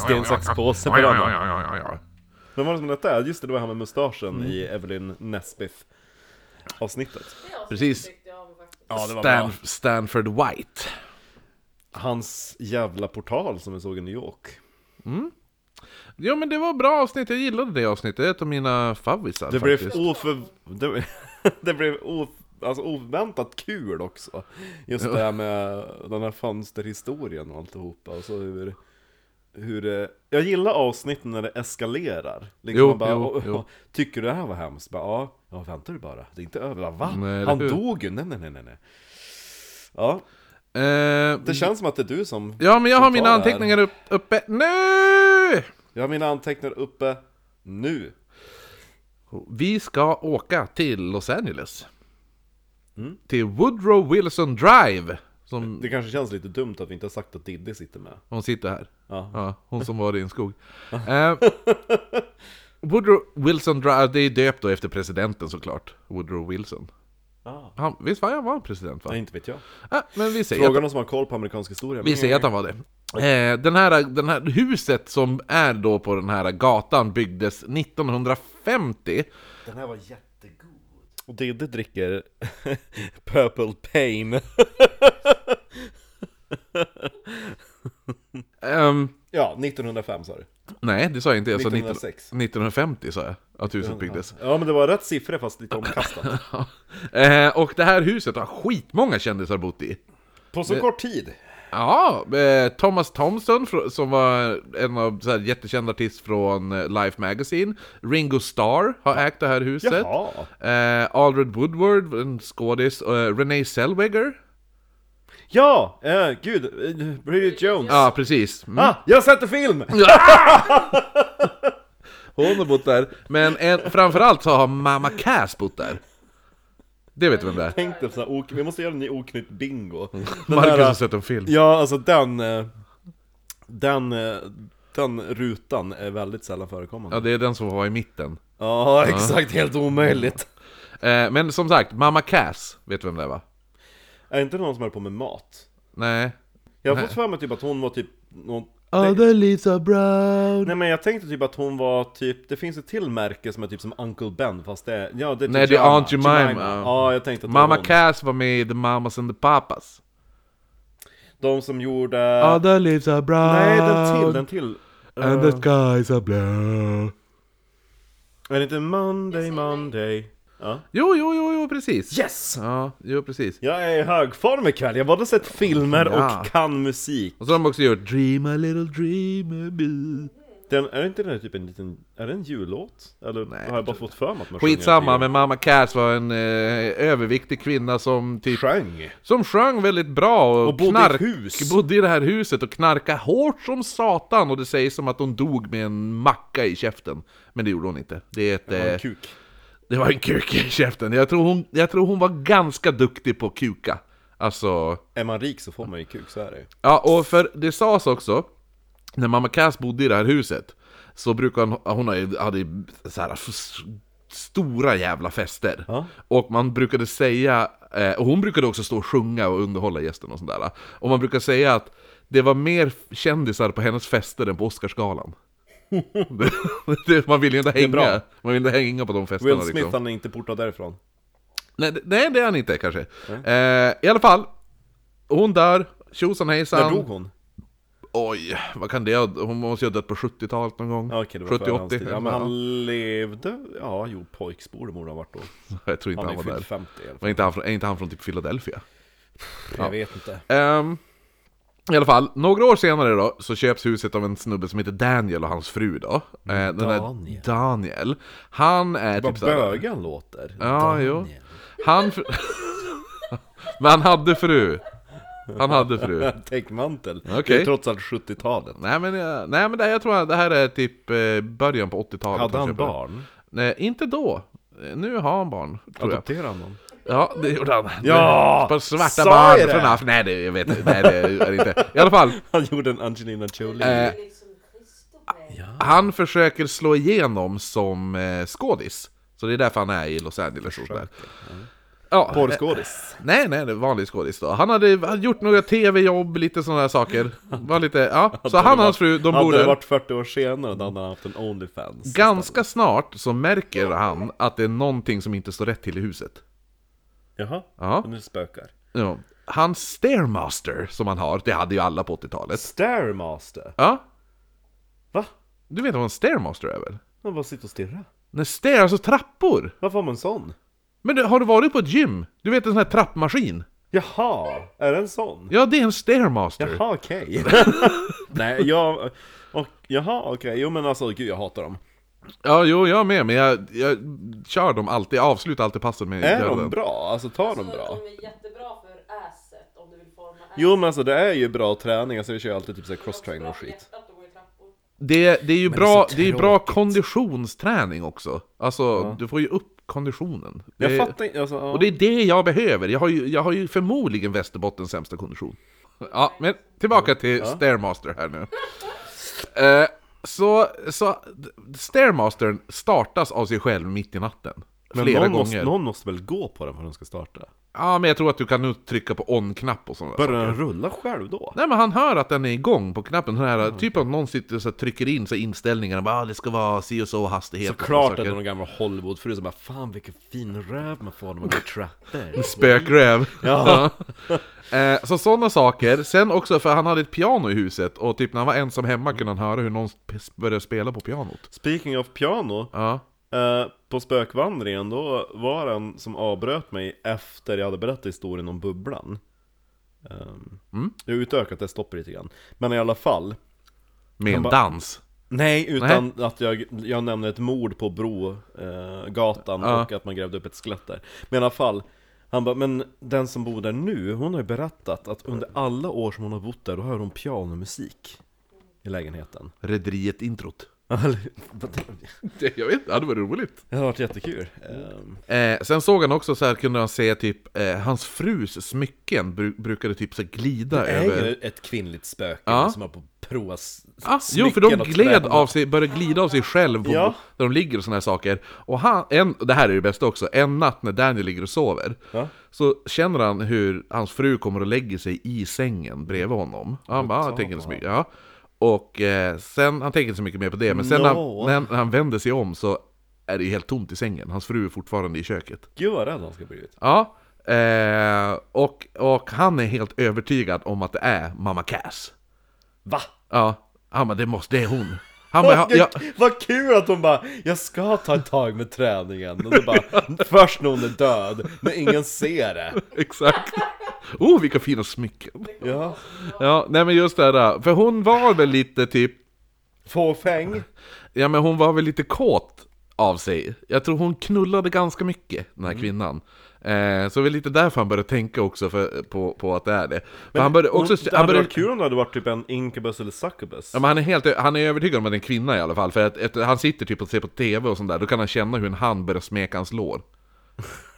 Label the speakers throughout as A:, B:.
A: Sten, sax,
B: Typ
A: påse på den.
B: Vem var det som detta? Just det, det var han med mustaschen i Evelyn Nesbiff avsnittet.
A: Precis.
B: Ja, det var
A: Stan,
B: bra.
A: Stanford White.
B: Hans jävla portal som vi såg i New York.
A: Jo men det var bra avsnitt, jag gillade det avsnittet. Det är ett av mina favvisar
B: Det blev,
A: faktiskt.
B: oför... det... det blev of... alltså, oväntat kul också. Just det här med den här fönsterhistorien och alltihopa. Och så hur... Hur det... Jag gillar avsnitten när det eskalerar. Liksom
A: Jo,
B: man bara,
A: jo,
B: "Åh,
A: jo.
B: Tycker du det här var hemskt? Bara, ja, ja, väntar du bara. Det är inte över. Bara, Va?
A: Nej, eller
B: Han
A: hur?
B: dog ju. Nej, nej, nej, nej, nej. Ja,
A: Eh,
B: det känns som att det är du som...
A: ja men jag
B: som
A: har
B: tar
A: mina
B: det här.
A: anteckningar upp, uppe nu!
B: Jag har mina anteckningar uppe nu.
A: Vi ska åka till Los Angeles.
B: Mm.
A: Till Woodrow Wilson Drive. Som
B: Det kanske känns lite dumt att vi inte har sagt att Diddy sitter med.
A: hon sitter här.
B: Ja.
A: Ja, hon som var i en skog. Eh, Woodrow Wilson Drive, det är döpt då efter presidenten såklart. Woodrow Wilson.
B: Ah.
A: Han, visst var han var president va?
B: Nej, inte vet jag.
A: Ah, men vi säger
B: Fråga någon som har koll på amerikansk historia.
A: Vi säger att han var det. Eh, den, här, den här huset som är då på den här gatan byggdes 1950.
B: Den här var jättegod. Och Didde dricker Purple Pain.
A: Ehm,
B: ja, 1905 sa du.
A: nej, det sa jag inte. Jag sa 19-
B: 1906.
A: 1950 sa jag att huset byggdes.
B: Ja, men det var rätt siffror fast lite omkastat.
A: Eh, och det här huset har skitmånga kändisar bott i.
B: På så kort tid.
A: Ja, eh, Thomas Thompson fr- som var en av så här, jättekänd artist från eh, Life Magazine. Ringo Starr har ägt det här huset.
B: Jaha.
A: Eh, Aldred Woodward, en skådis. Eh, Renee Zellweger.
B: Ja, eh, gud. eh, Bridget Jones.
A: Ja, precis. Mm.
B: Ah, jag har sett en film!
A: Hon har bott där, men en, framförallt så har mamma Cass bott där. Det vet du vem det är?
B: Tänk dig på sån här ok- vi måste göra en ny oknytt bingo. Den
A: Marcus
B: här-
A: har sett en film.
B: Ja, alltså den... eh, Den... eh, Den rutan är väldigt sällan förekommande.
A: Ja, det är den som var i mitten.
B: Ja, exakt. Helt omöjligt.
A: Eh, men som sagt, mamma Cass, vet du vem det är va?
B: Är det inte någon som höll på med mat?
A: Nej.
B: Jag har fått för mig typ att hon var typ någon...
A: Other Ah, leaves are brown.
B: Nej men jag tänkte typ att hon var typ, det finns ett till märke som är typ som Uncle Ben fast det är... Ja, det är
A: Nej,
B: typ
A: det är
B: Jemima.
A: Aunt Jemima.
B: Ja, jag tänkte att det
A: Mamma
B: var hon.
A: Cass var med i The Mamas and the Papas.
B: De som gjorde...
A: Other Ah, leaves are brown.
B: Nej, den till, den till.
A: And the skies are blue.
B: Är det inte Monday, Monday? Ja.
A: Jo, jo, jo, jo, precis.
B: Yes!
A: Ja, jo, precis.
B: Jag är i högform ikväll, jag har både sett filmer
A: Ja.
B: och kan musik.
A: Och så har de också gjort Dream a little dream a bit.
B: Den, är det inte den här typ en liten, är det en jullåt? Eller
A: Nej,
B: har jag bara fått för mig att man sjunger
A: Skitsamma,
B: en
A: men mamma Cass var en eh, överviktig kvinna som typ
B: Sjöng!
A: Som sjöng väldigt bra och,
B: Och bodde i
A: knark,
B: hus.
A: bodde i det här huset och knarkade hårt som satan och det sägs som att hon dog med en macka i käften. Men det gjorde hon inte. Det, är ett,
B: Det var en
A: eh,
B: kuk.
A: det var en kuk i käften. Jag tror, hon, jag tror hon var ganska duktig på att kuka. Alltså,
B: Är man rik så får man ju kuk, så är det ju.
A: ja och för det sades också, när mamma Cass bodde i det här huset, så brukade hon, hon har ju- hade ju så här, f- stora jävla fester.
B: Ja.
A: Och man brukade säga, eh, och hon brukade också stå och sjunga och underhålla gästen och sådär. Och man brukade säga att det var mer kändisar på hennes fester än på Oscarsgalan. Det- det- man vill ju inte hänga,
B: bra.
A: man vill inte hänga på de festerna
B: Will Smith,
A: liksom.
B: han är inte portad därifrån.
A: nej, det- nej, det är han inte kanske. Eh, I alla fall, hon dör, tjosan hejsan.
B: När dog hon?
A: Oj, vad kan det ha- Hon måste ju ha dött på 70-talet någon gång.
B: Ja, okej, det var
A: 70,
B: före hans
A: 80.
B: tid. Ja, men han levde... Ja, jo, pojksbor borde han varit då.
A: Jag tror inte
B: Han
A: Typ han,
B: är
A: var
B: fyllt
A: där.
B: 50 i alla fall.
A: Var inte han, från- är inte han från typ Philadelphia?
B: Jag vet inte.
A: Ehm, I alla fall, några år senare då så köps huset av en snubbe som heter Daniel och hans fru då. Eh, den där
B: Daniel.
A: Daniel. Han är
B: Vad
A: typ såhär...
B: bögen låter.
A: Ja, jo. Han... fr- Men han hade fru. Han hade fru.
B: Täckmantel. Det är
A: Okej.
B: trots allt 70-talet.
A: Nej men, jag, nej, men det, jag tror att det här är typ eh, början på 80-talet.
B: Hade han
A: köper det.
B: barn?
A: Nej, inte då. Eh, Nu har han barn, tror jag.
B: Adopterade han någon?
A: Ja, det gjorde han.
B: Ja,
A: På svarta
B: sa jag
A: barn
B: det?
A: från Af... Nej, det, jag vet inte. Nej, det är det inte. I alla fall,
B: Han gjorde en Angelina Jolie.
A: Eh. han försöker slå igenom som eh, skådis. Så det är därför han är i Los Angeles och sådär. Ja, eh,
B: Porrskådis.
A: Nej, nej, det var vanlig skådis då. Han hade, hade gjort några tv-jobb, lite sådana här saker. Var lite, ja. Så han och hans fru, eh, de bor
B: Hade det
A: där.
B: varit 40 år senare då hade han haft en Onlyfans.
A: Ganska snart så märker han att det är någonting som inte står rätt till i huset.
B: Jaha,
A: Ja.
B: nu spökar.
A: Ja. Hans stairmaster som han har, det hade ju alla på 80-talet.
B: Stairmaster?
A: Ja,
B: Va?
A: du vet vad en stairmaster är väl?
B: Man bara sitter och stirrar.
A: Nej, stair, alltså trappor!
B: Varför har man en sån?
A: Men du, har du varit på ett gym? Du vet en sån här trappmaskin?
B: Jaha, är det en sån?
A: Ja, det är en stairmaster!
B: Jaha, okej. Nej, jag... Och, jaha, okej. Jo men alltså, gud jag hatar dem.
A: Ja, jo, jag med, men jag, jag kör dem alltid, jag avslutar alltid passen med
B: Är
A: döden.
B: de bra? Alltså tar de bra?
C: De är jättebra för asset om du vill forma asset.
B: Jo men alltså det är ju bra träning, alltså vi kör ju alltid typ såhär cross-training och skit.
C: Att gå i trappor.
A: Det, det är ju
B: det är
A: bra, det
B: så
A: är, ju bra
B: tråkigt.
A: konditionsträning också. Alltså, du får ju upp konditionen.
B: Jag
A: Det-
B: fattar inte, alltså, ja.
A: Och det är det jag behöver. Jag har ju, jag har ju förmodligen Västerbottens sämsta kondition. Ja, men tillbaka till Stairmaster här nu. Eh, så, så Stairmastern startas av sig själv mitt i natten.
B: men
A: flera
B: någon
A: gånger.
B: Måste, någon måste väl gå på den för att den ska starta?
A: Ja, men jag tror att du kan nu trycka på on-knapp och sådana där
B: Börjar den rulla själv då?
A: Nej men han hör att den är igång på knappen, den här,
B: Mm.
A: typ att någon sitter och så här, trycker in så här inställningarna, bara, ah, det ska vara si och så hastighet och
B: Såklart att
A: saker."
B: det är någon gammal Hollywoodfru som bara 'Fan vilken fin röv man får när man går i trappor'
A: Spökräv! Ja. Eh, så sådana saker, sen också för han hade ett piano i huset och typ när han var ensam hemma kunde han höra hur någon sp- började spela på pianot.
B: Speaking of piano,
A: Ja.
B: eh, på spökvandringen då var det en som avbröt mig efter jag hade berättat historien om bubblan Ehm, Jag har utökat det stoppet lite grann Men i alla fall
A: Med en
B: bara-
A: dans.
B: Nej, utan att jag, jag nämner ett mord på Brogatan eh, gatan
A: Ja.
B: och att man grävde upp ett skelett där Men i alla fall, han bara, men den som bor där nu, hon har ju berättat att under alla år som hon har bott där, då hör hon pianomusik i lägenheten
A: Rederiet-introt.
B: Det
A: Det- Jag vet det hade varit roligt.
B: hade varit jättekul Ehm,
A: Eh, sen såg han också så här kunde han se typ, eh, hans frus smycken bru- brukade typ så här glida
B: Det
A: över...
B: är ju ett kvinnligt spöke
A: Ja.
B: som har på provas
A: Ah, jo, för de gled av sig, började glida av sig själv på,
B: Ja.
A: där de ligger och såna här saker. Och han, en, det här är det bästa också, en natt när Daniel ligger och sover
B: Ja.
A: så känner han hur hans fru kommer och lägger sig i sängen bredvid honom. Och han bara, ah, jag tänker inte så mycket. Ja. Och eh, sen, han tänker inte så mycket mer på det, men sen när
B: No.
A: han, när, han- när han vänder sig om så är det ju helt tomt i sängen. Hans fru är fortfarande i köket.
B: Gud vad rädd han ska bli ut
A: Ja, eh, och, och han är helt övertygad om att det är mamma Cass.
B: Va?
A: Ja, han bara, det måste, det är hon. Han bara, "Ja, jag,
B: Vad kul att hon bara 'Jag ska ta ett tag med träningen' och så bara, Först när hon är död, när ingen ser det
A: Exakt. Oh, vilka fina smycken.
B: Ja,
A: Ja, nej men just det där. För hon var väl lite typ,
B: fåfäng
A: ja men hon var väl lite kåt av sig. Jag tror hon knullade ganska mycket, den här
B: Mm.
A: kvinnan. Eh, så det är väl lite därför han började tänka också för, på, på att det är det. Men han började också...
B: Det
A: Han
B: hade
A: började,
B: varit kul om det hade varit typ en Incubus eller Succubus
A: ja, men han, är helt, han är övertygad om att det är en kvinna i alla fall. För att, efter- han sitter typ och ser på TV och sånt där, då kan han känna hur en hand börjar smeka hans lår.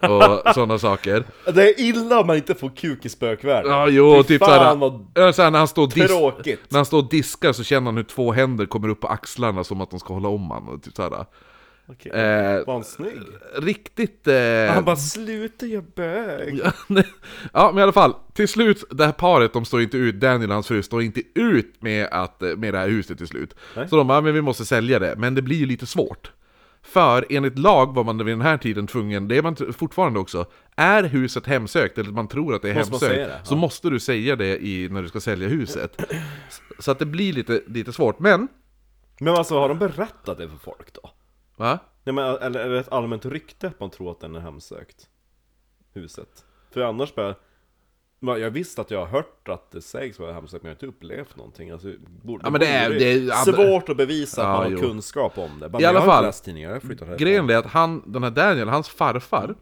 A: Och sådana saker.
B: Det är illa om man inte får kuk i spökvärlden
A: Ja, jo,
B: Fy
A: typ
B: fan,
A: såhär,
B: vad
A: ja, såhär när han står och dis-
B: tråkigt.
A: När han står och diskar så känner han hur två händer kommer upp på axlarna som att de ska hålla om honom, typ såhär.
B: Okej,
A: Eh,
B: Var han snygg?
A: riktigt... Eh...
B: Han bara 'Sluta jag bög'
A: ja, men i alla fall. Till slut, det här paret, de står inte ut, Daniel och hans fru står inte ut med, att, eh, med det här huset till slut. Så de bara, men vi måste sälja det, men det blir ju lite svårt. För enligt lag var man vid den här tiden tvungen, det är man t- fortfarande också, är huset hemsökt eller man tror att det är
B: Måste man
A: hemsökt,
B: säga det?
A: så måste du säga det i, när du ska sälja huset. S- Så att det blir lite, lite svårt, men...
B: Men alltså har de berättat det för folk då?
A: Va?
B: Nej, men, eller är det ett allmänt rykte att man tror att den är hemsökt? Huset? För annars bara... men Jag visst att jag har hört att det sägs vara hemsökt, men jag har inte upplevt någonting. Alltså, borde,
A: Ja, men det är-
B: borde-
A: det är-
B: svårt att bevisa att
A: Ja,
B: man har
A: jo.
B: kunskap om det. Bara,
A: I
B: men
A: alla
B: jag har
A: fall,
B: inte läst tidningar, jag har flyttat härifrån.
A: Grejen är att han, den här Daniel, hans farfar,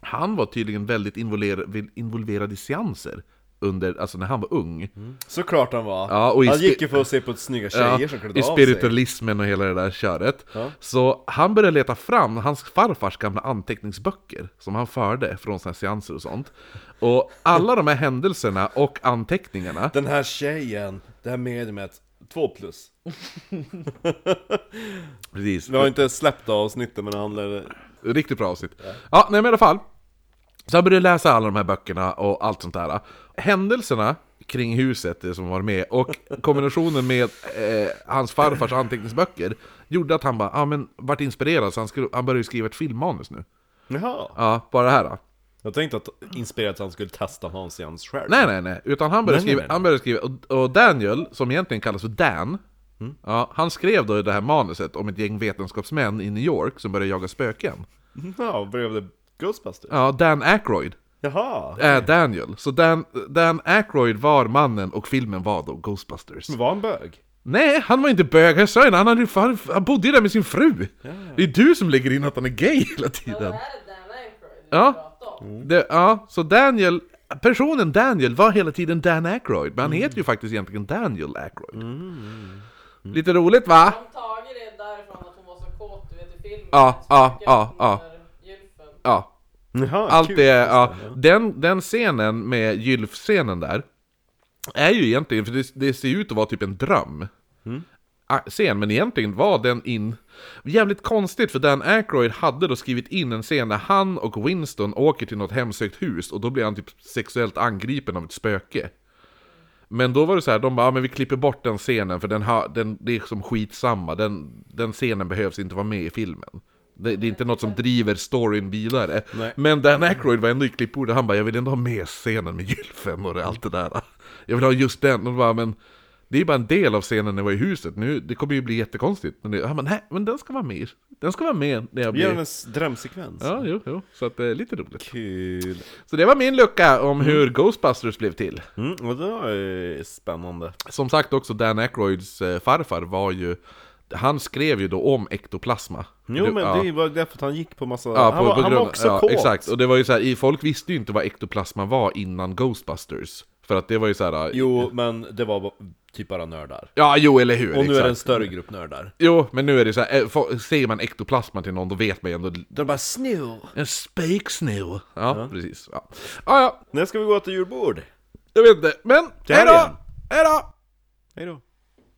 A: han var tydligen väldigt involverad, involverad i seanser under, alltså när han var ung.
B: Såklart han var.
A: Ja, och i
B: han
A: spi-
B: gick ju för att se på snygga Mm. tjejer
A: Ja,
B: som klädde
A: I
B: av sig.
A: spiritualismen och hela det där köret.
B: Ja.
A: Så han började leta fram hans farfars gamla anteckningsböcker som han förde från sina seanser och sånt. Och alla de här händelserna och anteckningarna
B: Den här tjejen, det här mediumet, två plus.
A: Precis,
B: Vi har inte släppt avsnittet men det handlar...
A: Riktigt bra avsnitt. Ja, nej men i alla fall. Så jag började läsa alla de här böckerna och allt sånt där. Händelserna kring huset eh, som var med och kombinationen med eh, hans farfars anteckningsböcker gjorde att han bara, ja ah, men vart inspirerad så han, skulle, han började ju skriva ett filmmanus nu.
B: Jaha.
A: Ja, bara det här då.
B: Jag tänkte att inspirerat att han skulle testa Hans Jans själv.
A: Nej nej nej, utan han började
B: Nej, nej,
A: skriva,
B: nej.
A: han började skriva och, och Daniel, som egentligen kallas för Dan,
B: Mm.
A: ja, han skrev då det här manuset om ett gäng vetenskapsmän i New York som började jaga spöken.
B: Ja, blev det Ghostbusters?
A: Ja, Dan Aykroyd.
B: Jaha.
A: är Äh, Daniel. Så Dan, Dan Aykroyd var mannen och filmen var då Ghostbusters.
B: Men var han bög?
A: Nej, han var inte bög, jag sa ju det, han, hade ju fan- han bodde ju där med sin fru! Det är du som lägger in att han är gay hela
C: Ja, det
A: tiden!
C: här är Dan Aykroyd vi
A: Ja.
C: pratar om.
A: Det, ja, så Daniel, personen Daniel var hela tiden Dan Aykroyd, men han heter ju faktiskt egentligen Daniel Aykroyd. Lite roligt va?
C: De tager det därifrån att hon var så kåt du vet i filmen.
A: Ja, ja,
C: Spöket
A: ja, ja.
C: under gylfen.
A: Ja,
B: Jaha,
A: Mm. Allt
B: kul.
A: det, ja, den, den scenen med Gylf-scenen där Är ju egentligen, för det, det ser ju ut att vara typ en dröm ah, Scen, men egentligen var den in Jävligt konstigt för Dan Aykroyd hade då skrivit in en scen när han och Winston åker till något hemsökt hus och då blir han typ sexuellt angripen av ett spöke men då var det så här, de bara, ah, men vi klipper bort den scenen för den har, den, det är som skitsamma, den, den scenen behövs inte vara med i filmen. Det, det är inte något som driver storyn vidare.
B: Nej.
A: Men Dan Aykroyd var ändå i klippbordet, han bara, jag vill ändå ha med scenen med gylfen och det, allt det där. Jag vill ha just den, och de bara, men det är ju bara en del av scenen när jag var i huset, nu, det kommer ju bli jättekonstigt. Men det, han bara, nej, men den ska vara med, den ska vara med när jag
B: Ge honom
A: blir...
B: en s- drömsekvens.
A: Ja, jo, jo, så att det är lite roligt.
B: Kul.
A: Så det var min lucka om hur Ghostbusters blev till.
B: Mm, och det var ju spännande.
A: Som sagt också, Dan Aykroyds eh, farfar var ju Han skrev ju då om ektoplasma
B: Jo
A: Du-
B: men
A: ja.
B: det var ju därför att han gick på massa...
A: Ja,
B: han,
A: på-
B: var,
A: på
B: han var
A: grund-
B: också
A: ja,
B: kåt.
A: Exakt, och det var ju så här, i- folk visste ju inte vad ektoplasma var innan Ghostbusters För att det var ju så här.
B: Jo, men det var ba- typ bara nördar.
A: Ja, jo eller hur!
B: Och nu är det en
A: exakt.
B: större grupp nördar.
A: Jo, men nu är det så här, eh, fo- säger man ektoplasma till någon då vet man ju ändå
B: De bara snor.
A: En spiksnö! Ja, precis ja. ja, ja,
B: När ska vi gå till julbord?
A: jag vet inte, men
B: Till
A: hejdå!
B: helgen.
A: Hejdå!
B: Hej då.